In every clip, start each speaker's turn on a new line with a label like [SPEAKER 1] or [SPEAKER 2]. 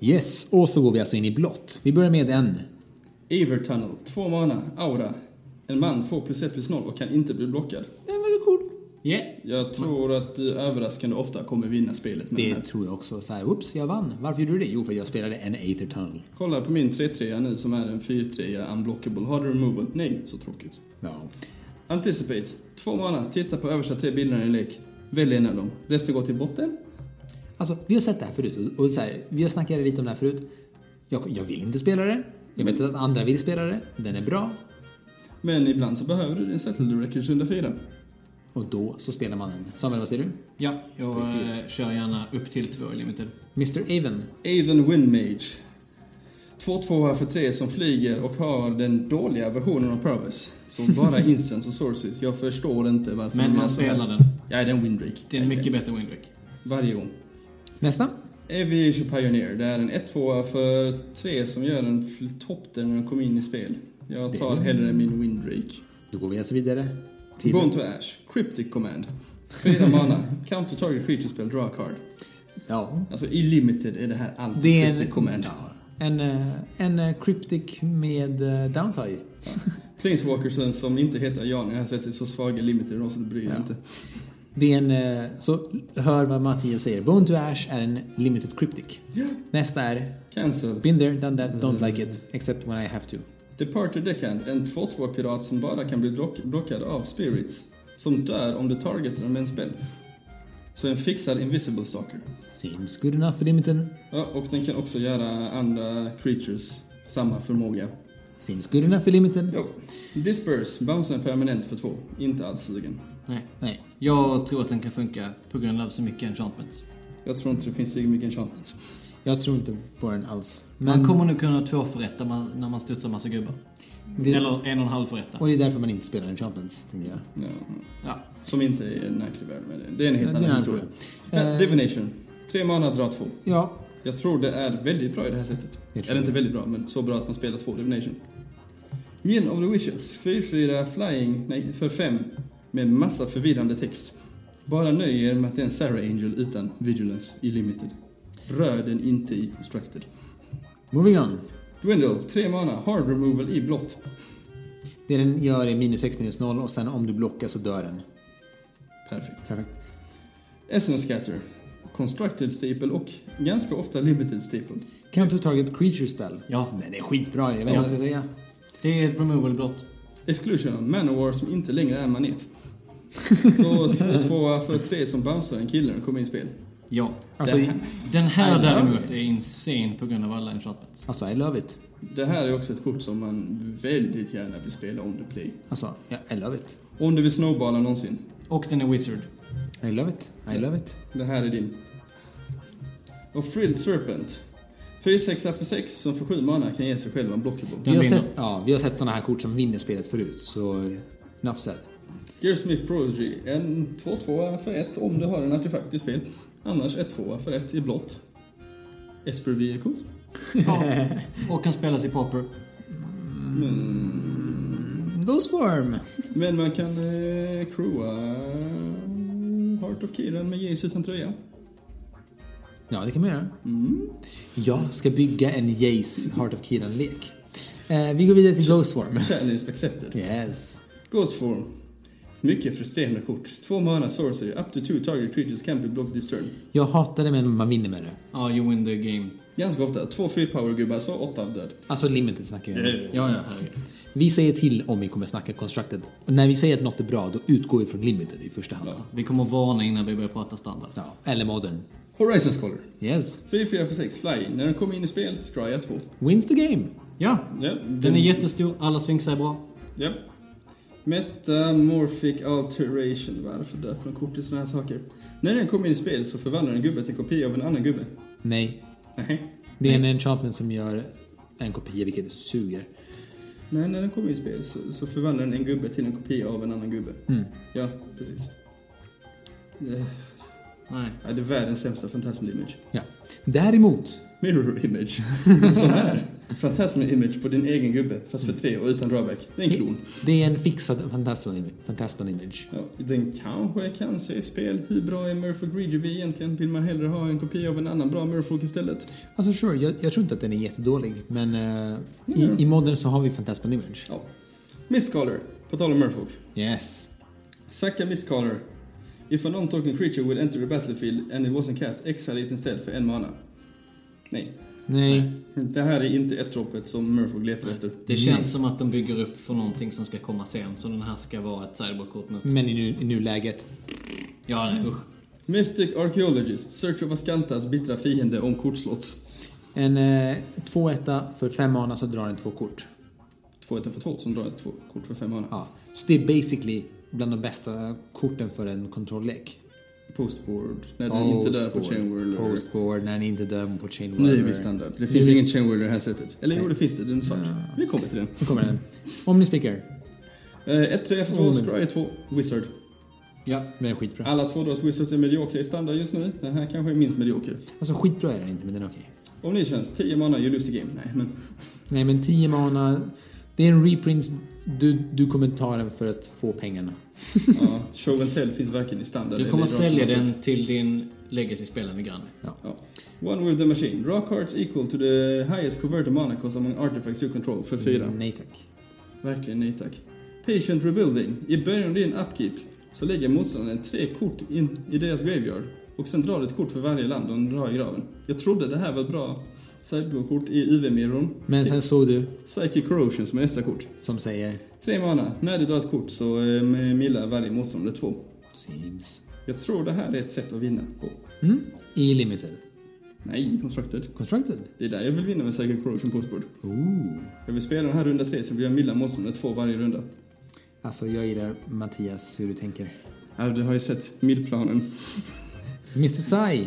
[SPEAKER 1] Yes, och så går vi alltså in i blått. Vi börjar med en.
[SPEAKER 2] Avertunnel, två mana, aura. En man får plus 1 plus 0 och kan inte bli blockad.
[SPEAKER 1] Den var cool. Yeah.
[SPEAKER 2] Jag tror att du överraskande ofta kommer vinna spelet med den
[SPEAKER 1] Det
[SPEAKER 2] här.
[SPEAKER 1] tror jag också. Så här, oops, jag vann. Varför gjorde du det? Jo, för jag spelade en Aether Tunnel.
[SPEAKER 2] Kolla på min 3-3 nu som är en 4-3 unblockable. Har du removal? Nej, så tråkigt.
[SPEAKER 1] Ja.
[SPEAKER 2] Anticipate. Två mana. Titta på översta tre bilderna i en lek. Välj en av dem. Resten går till botten.
[SPEAKER 1] Alltså, vi har sett det här förut och- och så här, vi har snackat lite om det här förut. Jag, jag vill inte spela det. Jag vet att andra vill spela det. Den är bra.
[SPEAKER 2] Men ibland så behöver du din Settled Records under fyra.
[SPEAKER 1] Och då så spelar man den. Samuel, vad säger du?
[SPEAKER 3] Ja, jag eh, kör gärna upp till två i limited.
[SPEAKER 1] Mr. Aven.
[SPEAKER 2] Aven Windmage. Två tvåa för tre som flyger och har den dåliga versionen av Prowess. Så bara instants och sources. Jag förstår inte varför
[SPEAKER 3] Men
[SPEAKER 2] de
[SPEAKER 3] man
[SPEAKER 2] gör så här.
[SPEAKER 3] spelar den.
[SPEAKER 2] Ja, det är en Windrake.
[SPEAKER 3] Det är en mycket bättre Windrick.
[SPEAKER 2] Varje gång.
[SPEAKER 1] Nästa.
[SPEAKER 2] Aviation Pioneer. Det är en 1-2 för 3 som gör en fl- topp där när den kommer in i spel. Jag tar hellre min Windrake.
[SPEAKER 1] Då går vi alltså vidare till...
[SPEAKER 2] Bone to Ash. Cryptic Command. Fyra mana. Counter target creature spell, draw a card.
[SPEAKER 1] Ja.
[SPEAKER 2] Alltså i limited är det här alltid
[SPEAKER 1] Det är en-
[SPEAKER 2] Cryptic Command.
[SPEAKER 1] En, eh, en eh, cryptic med eh, downside.
[SPEAKER 2] Planeswalkersen som inte heter Jan i det här sättet är så svaga i limited de så det bryr jag inte.
[SPEAKER 1] Det är en... eh, Så hör vad Mattias säger. Bone to Ash är en limited cryptic. Nästa är...
[SPEAKER 2] Cancel.
[SPEAKER 1] Been there, done that, don't like it. Except when I have to.
[SPEAKER 2] Departure Deckhand, en 2-2 pirat som bara kan bli block- blockad av spirits. Som dör om du targetar den med en spel. Så en fixad invisible stalker.
[SPEAKER 1] Seems good enough för limiten.
[SPEAKER 2] Ja, och den kan också göra andra creatures samma förmåga.
[SPEAKER 1] Seems good enough för limiten.
[SPEAKER 2] Jo. Disperse, bounce en permanent för två. Inte alls sugen.
[SPEAKER 3] Nej.
[SPEAKER 1] Nej.
[SPEAKER 3] Jag tror att den kan funka på grund av så mycket enchantments.
[SPEAKER 2] Jag tror inte det finns så mycket enchantments.
[SPEAKER 1] Jag tror inte på den alls.
[SPEAKER 3] Man kommer nog kunna tvåförrätta ma- när man studsar massa gubbar.
[SPEAKER 1] Det-
[SPEAKER 3] Eller en och en halv förrätta.
[SPEAKER 1] Och det är därför man inte spelar enchantments, tänker jag.
[SPEAKER 2] Ja.
[SPEAKER 3] Ja.
[SPEAKER 2] Som inte är en aktiv värld med det. Det är en
[SPEAKER 1] Det är
[SPEAKER 2] helt
[SPEAKER 1] en
[SPEAKER 2] annan
[SPEAKER 1] annan
[SPEAKER 2] historia.
[SPEAKER 1] fråga.
[SPEAKER 2] Ja,
[SPEAKER 1] Eh.
[SPEAKER 2] divination. Tre mana, dra två.
[SPEAKER 1] Ja.
[SPEAKER 2] Jag tror det är väldigt bra i det här sättet.
[SPEAKER 1] Jag tror
[SPEAKER 2] Eller
[SPEAKER 1] det.
[SPEAKER 2] inte väldigt bra, men så bra att man spelar två divination. Gin of the Wishes, 4-4 flying, nej, för 5 med massa förvirrande text. Bara nöj er med att det är en Sarah Angel utan Vigilance i Limited. Rör den inte i Constructed.
[SPEAKER 1] Moving on.
[SPEAKER 2] Dwindle, 3 mana, hard removal i blått.
[SPEAKER 1] Det den gör är minus 6 minus 0 och sen om du blockar så dör den.
[SPEAKER 2] Perfekt.
[SPEAKER 1] Perfekt.
[SPEAKER 2] Essence Scatter, Constructed Staple och ganska ofta Limited Staple.
[SPEAKER 1] Counter target creature spell.
[SPEAKER 3] Ja.
[SPEAKER 1] Den är skitbra jag vet
[SPEAKER 3] Ja.
[SPEAKER 1] inte vad jag ska säga.
[SPEAKER 3] Det är ett removal blott.
[SPEAKER 2] Exclusion av Manowar som inte längre är manet. Så två tvåa för tre som bouncear en kille när den kommer in i spel.
[SPEAKER 3] Ja.
[SPEAKER 1] Alltså,
[SPEAKER 2] det, här,
[SPEAKER 3] Den här
[SPEAKER 1] I love
[SPEAKER 3] däremot är insane på grund av alla enchantments.
[SPEAKER 1] Alltså, I love it.
[SPEAKER 2] det här är också ett kort som man väldigt gärna vill spela on the play.
[SPEAKER 1] Alltså, ja, I love it.
[SPEAKER 2] Om du vill snowballa någonsin.
[SPEAKER 3] Och den är wizard.
[SPEAKER 1] I love it. I love it.
[SPEAKER 2] Det här är din. Och Frilled Serpent. 4-6 för 6 som för 7 mana kan ge sig själv en blockable.
[SPEAKER 3] Den
[SPEAKER 1] Vi har,
[SPEAKER 3] vinner.
[SPEAKER 1] sett, ja, vi har sett sådana här kort som vinner spelet förut, så enough said.
[SPEAKER 2] Gear Smith Prodigy. En 2-2 för 1 om du har en artefakt i spel. Annars 1-2 för 1 i blått. Esper Vehicles.
[SPEAKER 3] Ja. Och kan spelas i popper.
[SPEAKER 1] Ghost form!
[SPEAKER 2] Men man kan eh, crewa Heart of Kiran med Jace utan tröja.
[SPEAKER 1] Ja, det kan man göra. Mm. Jag ska bygga en Jace Heart of Kiran-lek. Eh, vi går vidare till Ghost form.
[SPEAKER 2] Challenge accepted.
[SPEAKER 1] Yes.
[SPEAKER 2] Ghost form. Mycket frustrerande kort. Två mana sorcery, up to two target creatures can be blocked this turn.
[SPEAKER 1] Jag hatar det men man vinner med det.
[SPEAKER 3] Ja, you win the game.
[SPEAKER 2] Ganska ofta. Två free power gubbar, så åtta död.
[SPEAKER 1] Alltså limited snackar vi om.
[SPEAKER 3] Ja, ja, herregud.
[SPEAKER 1] Vi säger till om vi kommer snacka constructed. Och när vi säger att något är bra, då utgår vi från limited i första hand. Ja.
[SPEAKER 3] Vi kommer varna innan vi börjar prata standard.
[SPEAKER 1] Eller modern.
[SPEAKER 2] Horizon Scholar.
[SPEAKER 1] Yes.
[SPEAKER 2] 4-4 för 6, flying. När den kommer in i spel, strya 2.
[SPEAKER 1] Wins the game.
[SPEAKER 3] Ja,
[SPEAKER 2] Ja,
[SPEAKER 3] den är jättestor, alla sphinxar är bra.
[SPEAKER 2] Ja. Metamorphic alteration. Varför döper de kort till såna här saker? När den kommer in i spel så förvandlar en gubbe till en kopia av en annan gubbe.
[SPEAKER 1] Nej.
[SPEAKER 2] Nej.
[SPEAKER 1] Det är en enchantment som gör en kopia, vilket suger.
[SPEAKER 2] Nej, när den kommer i spel så, så förvandlar den en gubbe till en kopia av en annan gubbe. Ja, precis. Eh,
[SPEAKER 3] Nej.
[SPEAKER 2] ja, det är världens sämsta fantasm image.
[SPEAKER 1] Ja. Däremot,
[SPEAKER 2] Mirror image. Sån här. Fantasm image på din egen gubbe, fast för tre och utan drawback. Det är en kron.
[SPEAKER 1] Det är en fixad Fantasman Fantasman Image.
[SPEAKER 2] Ja, den kanske kan se i spel. Hur bra är Murfolk Regiby egentligen? Vill man hellre ha en kopia av en annan bra Murfolk istället?
[SPEAKER 1] Alltså sure, jag, jag tror inte att den är jättedålig, men eh,
[SPEAKER 2] Mm.
[SPEAKER 1] i, i modden så har vi Fantasman Image.
[SPEAKER 2] Ja. Mistcaller, på tal om Murfolk.
[SPEAKER 1] Yes.
[SPEAKER 2] Sacka Mistcaller. If a non-token creature would enter the battlefield and it wasn't cast, exile it instead för en mana. Nej,
[SPEAKER 1] Nej.
[SPEAKER 2] det här är inte ett droppet som Murfolk letar efter.
[SPEAKER 3] Det känns som att de bygger upp för någonting som ska komma sen. Så den här ska vara ett cyberkort nu.
[SPEAKER 1] Men i, nu, i nuläget.
[SPEAKER 3] Ja, nej usch.
[SPEAKER 2] Mystic Archaeologist, Search of Ascantas bittra fiende om kortslott.
[SPEAKER 1] En eh, 2-1 för fem mana så drar den två kort.
[SPEAKER 2] 2-1 för 2 som drar ett två kort för fem mana.
[SPEAKER 1] Ja. Så det är basically bland de bästa korten för en kontrolllek.
[SPEAKER 2] Postboard, när den inte dör på
[SPEAKER 1] Postboard.
[SPEAKER 2] Chainworld.
[SPEAKER 1] Postboard, när den inte dör på Chain
[SPEAKER 2] Nu är
[SPEAKER 1] Whirler.
[SPEAKER 2] vi standard. Det finns
[SPEAKER 1] Nu är vi-
[SPEAKER 2] ingen chainwheel i det här sättet. Eller jo, det finns det. Den är svart. Vi kommer till den.
[SPEAKER 1] Nu kommer den. Omnispeaker.
[SPEAKER 2] Eh, 1, 3, F2,
[SPEAKER 1] Mm.
[SPEAKER 2] Scry 2, Wizard.
[SPEAKER 1] Ja, den är skitbra.
[SPEAKER 2] Alla tvådras Wizards är mediokra i standard just nu. Den här kanske är minst medioker.
[SPEAKER 1] Alltså skitbra är den inte, men den är okej.
[SPEAKER 2] Om ni känns, 10 mana, you lose the game. Nej, men
[SPEAKER 1] Nej, men 10 mana. Det är en reprint. Du, du kommer ta den för att få pengarna.
[SPEAKER 2] ja, show and tell finns varken i standard
[SPEAKER 3] Du kommer
[SPEAKER 2] eller i draft
[SPEAKER 3] sälja
[SPEAKER 2] formatet.
[SPEAKER 3] den till din legacy-spelande granne.
[SPEAKER 2] Ja. One with the machine. Draw cards equal to the highest converted mana cost among artifacts you control för 4.
[SPEAKER 3] Mm.
[SPEAKER 1] Nej tack.
[SPEAKER 2] Verkligen nej tack. Patient Rebuilding. I början av din upkeep så lägger motståndaren tre kort in i deras graveyard och sen drar ett kort för varje land de drar i graven. Jag trodde det här var ett bra sideboardkort i UV-mirrorn.
[SPEAKER 1] Men sen såg du,
[SPEAKER 2] Psychic Corrosion som är nästa kort.
[SPEAKER 1] som säger...
[SPEAKER 2] Tre mana. När du drar ett kort så eh, millar varje motståndare två.
[SPEAKER 1] Seems.
[SPEAKER 2] Jag tror det här är ett sätt att vinna på.
[SPEAKER 1] Mm? I limited.
[SPEAKER 2] Nej, Constructed.
[SPEAKER 1] Constructed.
[SPEAKER 2] Det är där jag vill vinna med Psychic Corrosion Postboard.
[SPEAKER 1] Ooh.
[SPEAKER 2] Jag vill spela den här runda tre så vill jag milla motståndare två varje runda.
[SPEAKER 1] Alltså jag gillar Mattias hur du tänker.
[SPEAKER 2] Ja, du har ju sett midplanen.
[SPEAKER 1] Mr Sai.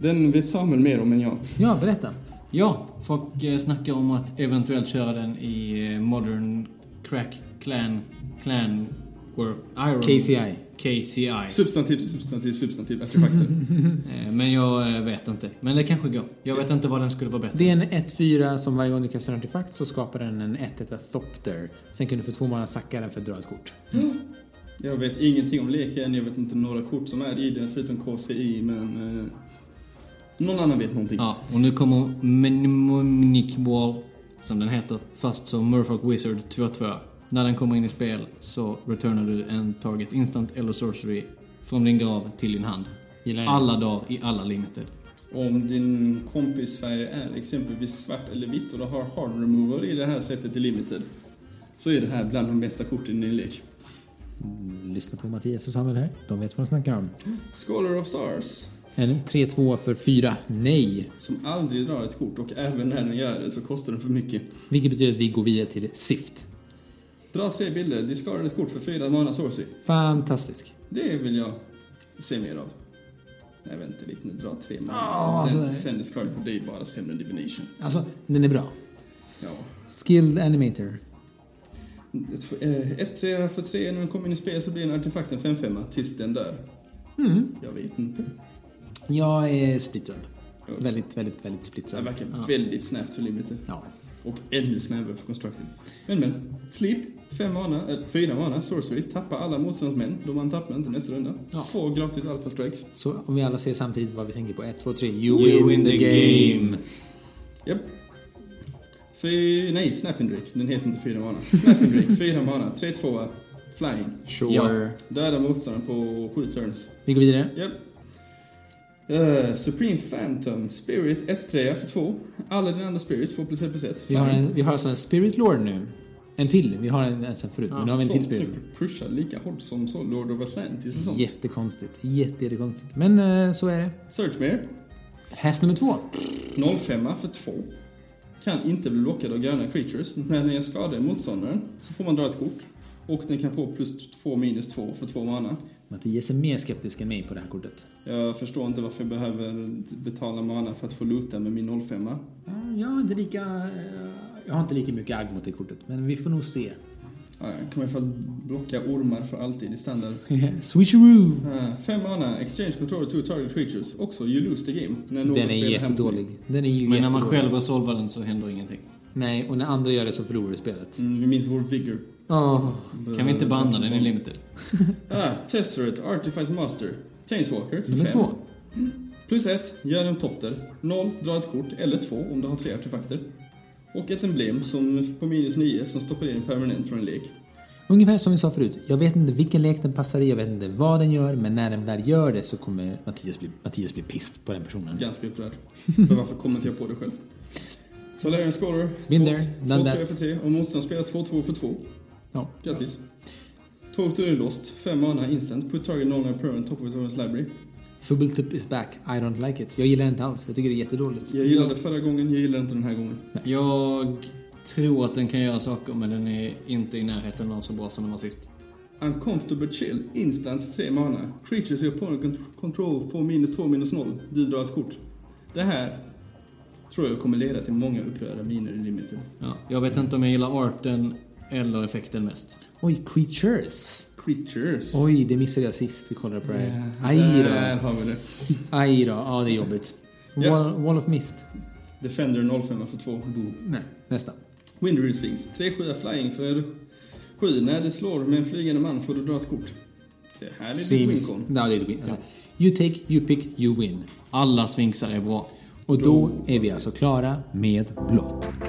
[SPEAKER 2] Den vet Samuel mer om än jag.
[SPEAKER 1] Ja, berätta.
[SPEAKER 3] Ja, folk eh, snackar om att eventuellt köra den i eh, Modern Crack Clan... Clan... Work, Iron...
[SPEAKER 1] KCI.
[SPEAKER 3] KCI.
[SPEAKER 2] Substantiv, substantiv, substantiv, artefakter.
[SPEAKER 3] Eh, Men jag eh, vet inte. Men det kanske går. Jag vet inte vad den skulle vara bättre.
[SPEAKER 1] Det är en 1-4 som varje gång du kastar en artefakt så skapar den en 1-1 Thopter. Sen kan du för två mana sacka den för att dra ett kort.
[SPEAKER 2] Jag vet ingenting om leken, jag vet inte några kort som är i den förutom KCI, men... Eh, någon annan vet någonting.
[SPEAKER 3] Ja, och nu kommer Mnemonic Wall, som den heter, fast som Murfolk Wizard 2-2. När den kommer in i spel så returnar du en target instant eller sorcery från din grav till din hand.
[SPEAKER 1] Gillar den.
[SPEAKER 3] Alla dagar i alla limiter.
[SPEAKER 2] Om din kompis färg är exempelvis svart eller vitt och du har hard remover i det här sättet i limited, så är det här bland de bästa korten i en lek.
[SPEAKER 1] Lyssna på Mattias och Samuel här. De vet vad de snackar om.
[SPEAKER 2] Scholar of Stars,
[SPEAKER 1] En 3-2 för 4. Nej.
[SPEAKER 2] som aldrig drar ett kort och även när den gör det så kostar den för mycket.
[SPEAKER 1] Vilket betyder att vi går vidare till Sift.
[SPEAKER 2] Dra tre bilder, discardar ett kort för fyra mana sorcery.
[SPEAKER 1] Fantastisk.
[SPEAKER 2] Det vill jag se mer av. Nej, vänta lite nu. Dra tre man.
[SPEAKER 1] Ja, alltså,
[SPEAKER 2] Den
[SPEAKER 1] nej.
[SPEAKER 2] Sämre skarv för dig bara sämre än divination.
[SPEAKER 1] Alltså, den är bra.
[SPEAKER 2] Ja.
[SPEAKER 1] Skilled Animator.
[SPEAKER 2] Ett- eh, Ett, tre för tre. När den kommer in i spel så blir en artefakt en 5-5 tills den dör.
[SPEAKER 1] Mm.
[SPEAKER 2] Jag vet inte.
[SPEAKER 1] Jag är splittrad.
[SPEAKER 2] Ja.
[SPEAKER 1] Väldigt, väldigt, väldigt
[SPEAKER 2] Det här
[SPEAKER 1] splittrad.
[SPEAKER 2] verkar väldigt snävt för limited.
[SPEAKER 1] Ja.
[SPEAKER 2] Och ännu snävare för constructed. Men men. Sleep. Fem mana, äh, fyra mana, sorcery. Tappa alla motståndsmän. De man tappar inte nästa runda.
[SPEAKER 1] Ja.
[SPEAKER 2] Två gratis alpha strikes.
[SPEAKER 1] Så om vi alla ser samtidigt vad vi tänker på. 1, 2, 3. You,
[SPEAKER 3] You
[SPEAKER 1] win,
[SPEAKER 3] win
[SPEAKER 1] the
[SPEAKER 3] the
[SPEAKER 1] game.
[SPEAKER 3] game.
[SPEAKER 2] Japp. Fy... Nej, Snap and Drake. Den heter inte fyra mana. Snap and Drake, fyra mana, 3-2, flying.
[SPEAKER 1] Sure.
[SPEAKER 3] Ja.
[SPEAKER 2] Döda motståndaren på sju turns.
[SPEAKER 1] Vi går vidare.
[SPEAKER 2] Japp. Eh, Supreme Phantom, Spirit 1-3 för 2. Alla dina andra spirits får plus 1 plus 1.
[SPEAKER 1] Vi har, en, vi har alltså en Spirit Lord nu. En till. Vi har en, en sen förut, men nu har vi en till
[SPEAKER 2] Sånt
[SPEAKER 1] Spirit.
[SPEAKER 2] typ pushar lika hårt som så Lord of Atlantis och sånt.
[SPEAKER 1] Jättekonstigt. Jätte, jättekonstigt. Men eh, så är det.
[SPEAKER 2] Searchmere,
[SPEAKER 1] Häst nummer två.
[SPEAKER 2] 0-5 för 2. Kan inte bli blockad av gröna creatures. När den skadar motståndaren så får man dra ett kort. Och den kan få plus 2 minus 2 för 2 mana.
[SPEAKER 1] Mattias är mer skeptisk än mig på det här kortet.
[SPEAKER 2] Jag förstår inte varför jag behöver betala mana för att få loota med min 05
[SPEAKER 1] Eh, Jag har inte lika... eh, Jag har inte lika mycket agg mot det kortet, men vi får nog se.
[SPEAKER 2] Ja, Jag kommer för att blocka ormar för alltid i standard.
[SPEAKER 1] Switcheroo!
[SPEAKER 2] Eh, Fem mana, exchange control two target creatures. Också you lose the game. När någon
[SPEAKER 1] Den är
[SPEAKER 2] spelar hem-
[SPEAKER 1] jättedålig. Den är ju
[SPEAKER 3] Men när man
[SPEAKER 1] jättedålig.
[SPEAKER 3] själv resolvar den så händer ingenting.
[SPEAKER 1] Nej, och när andra gör det så förlorar du spelet.
[SPEAKER 2] Mm, vi minns vår vigor.
[SPEAKER 1] Åh,
[SPEAKER 3] Kan vi inte banna den i limited?
[SPEAKER 2] Ah, Tesseret, Artifice Master. Planeswalker för
[SPEAKER 1] nummer
[SPEAKER 2] fem.
[SPEAKER 1] två.
[SPEAKER 2] Plus ett, gör en topter. Noll, dra ett kort, eller två om du har tre artefakter. Och ett emblem som på minus nio som stoppar in en permanent från en lek.
[SPEAKER 1] Ungefär som vi sa förut, jag vet inte vilken lek den passar i, jag vet inte vad den gör, men när den väl gör det så kommer Mattias bli, Mattias bli pissed på den personen.
[SPEAKER 2] Ganska upprörd. Men varför kommer inte jag på det själv? Solarium Scholar.
[SPEAKER 1] Been there, done
[SPEAKER 2] 2-3
[SPEAKER 1] that.
[SPEAKER 2] för 3 och motståndaren spelar 2-2 för 2.
[SPEAKER 1] Ja.
[SPEAKER 2] Grattis. Total är lost. 5 mana instant. Put target non permanent top of his own library.
[SPEAKER 1] Fubbletip is back, I don't like it. Jag gillar det inte alls, jag tycker det är jättedåligt.
[SPEAKER 2] Jag gillade förra gången, jag gillar inte den här gången.
[SPEAKER 3] Jag tror att den kan göra saker, men den är inte i närheten av så bra som den var sist.
[SPEAKER 2] Uncomfortable chill. Instant 3 mana. Creatures your opponent con- control får minus 2 minus 0. Du drar ett kort. Det här tror jag kommer leda till många upprörda miner i limiten.
[SPEAKER 3] Ja, jag vet inte om jag gillar arten eller effekten mest.
[SPEAKER 1] Oj, creatures!
[SPEAKER 2] Creatures. Eh,
[SPEAKER 1] Oj, det missade jag sist vi kollade på det här. Aj
[SPEAKER 2] Där
[SPEAKER 1] då,
[SPEAKER 2] har vi det.
[SPEAKER 1] aj då, ja det är jobbigt.
[SPEAKER 2] Ja.
[SPEAKER 1] Wall, wall of mist.
[SPEAKER 2] Defender 05 för 2. Boo.
[SPEAKER 1] Nej, nästan.
[SPEAKER 2] Windrew Sphinx. 3 7 flying för 7. När det slår med en flygande man får du dra ett kort. Det här är lite
[SPEAKER 1] Seems...
[SPEAKER 2] Wincon.
[SPEAKER 1] No, det är win. You take, you pick, you win.
[SPEAKER 3] Alla sfinxar är bra.
[SPEAKER 1] Och då är vi alltså klara med blått.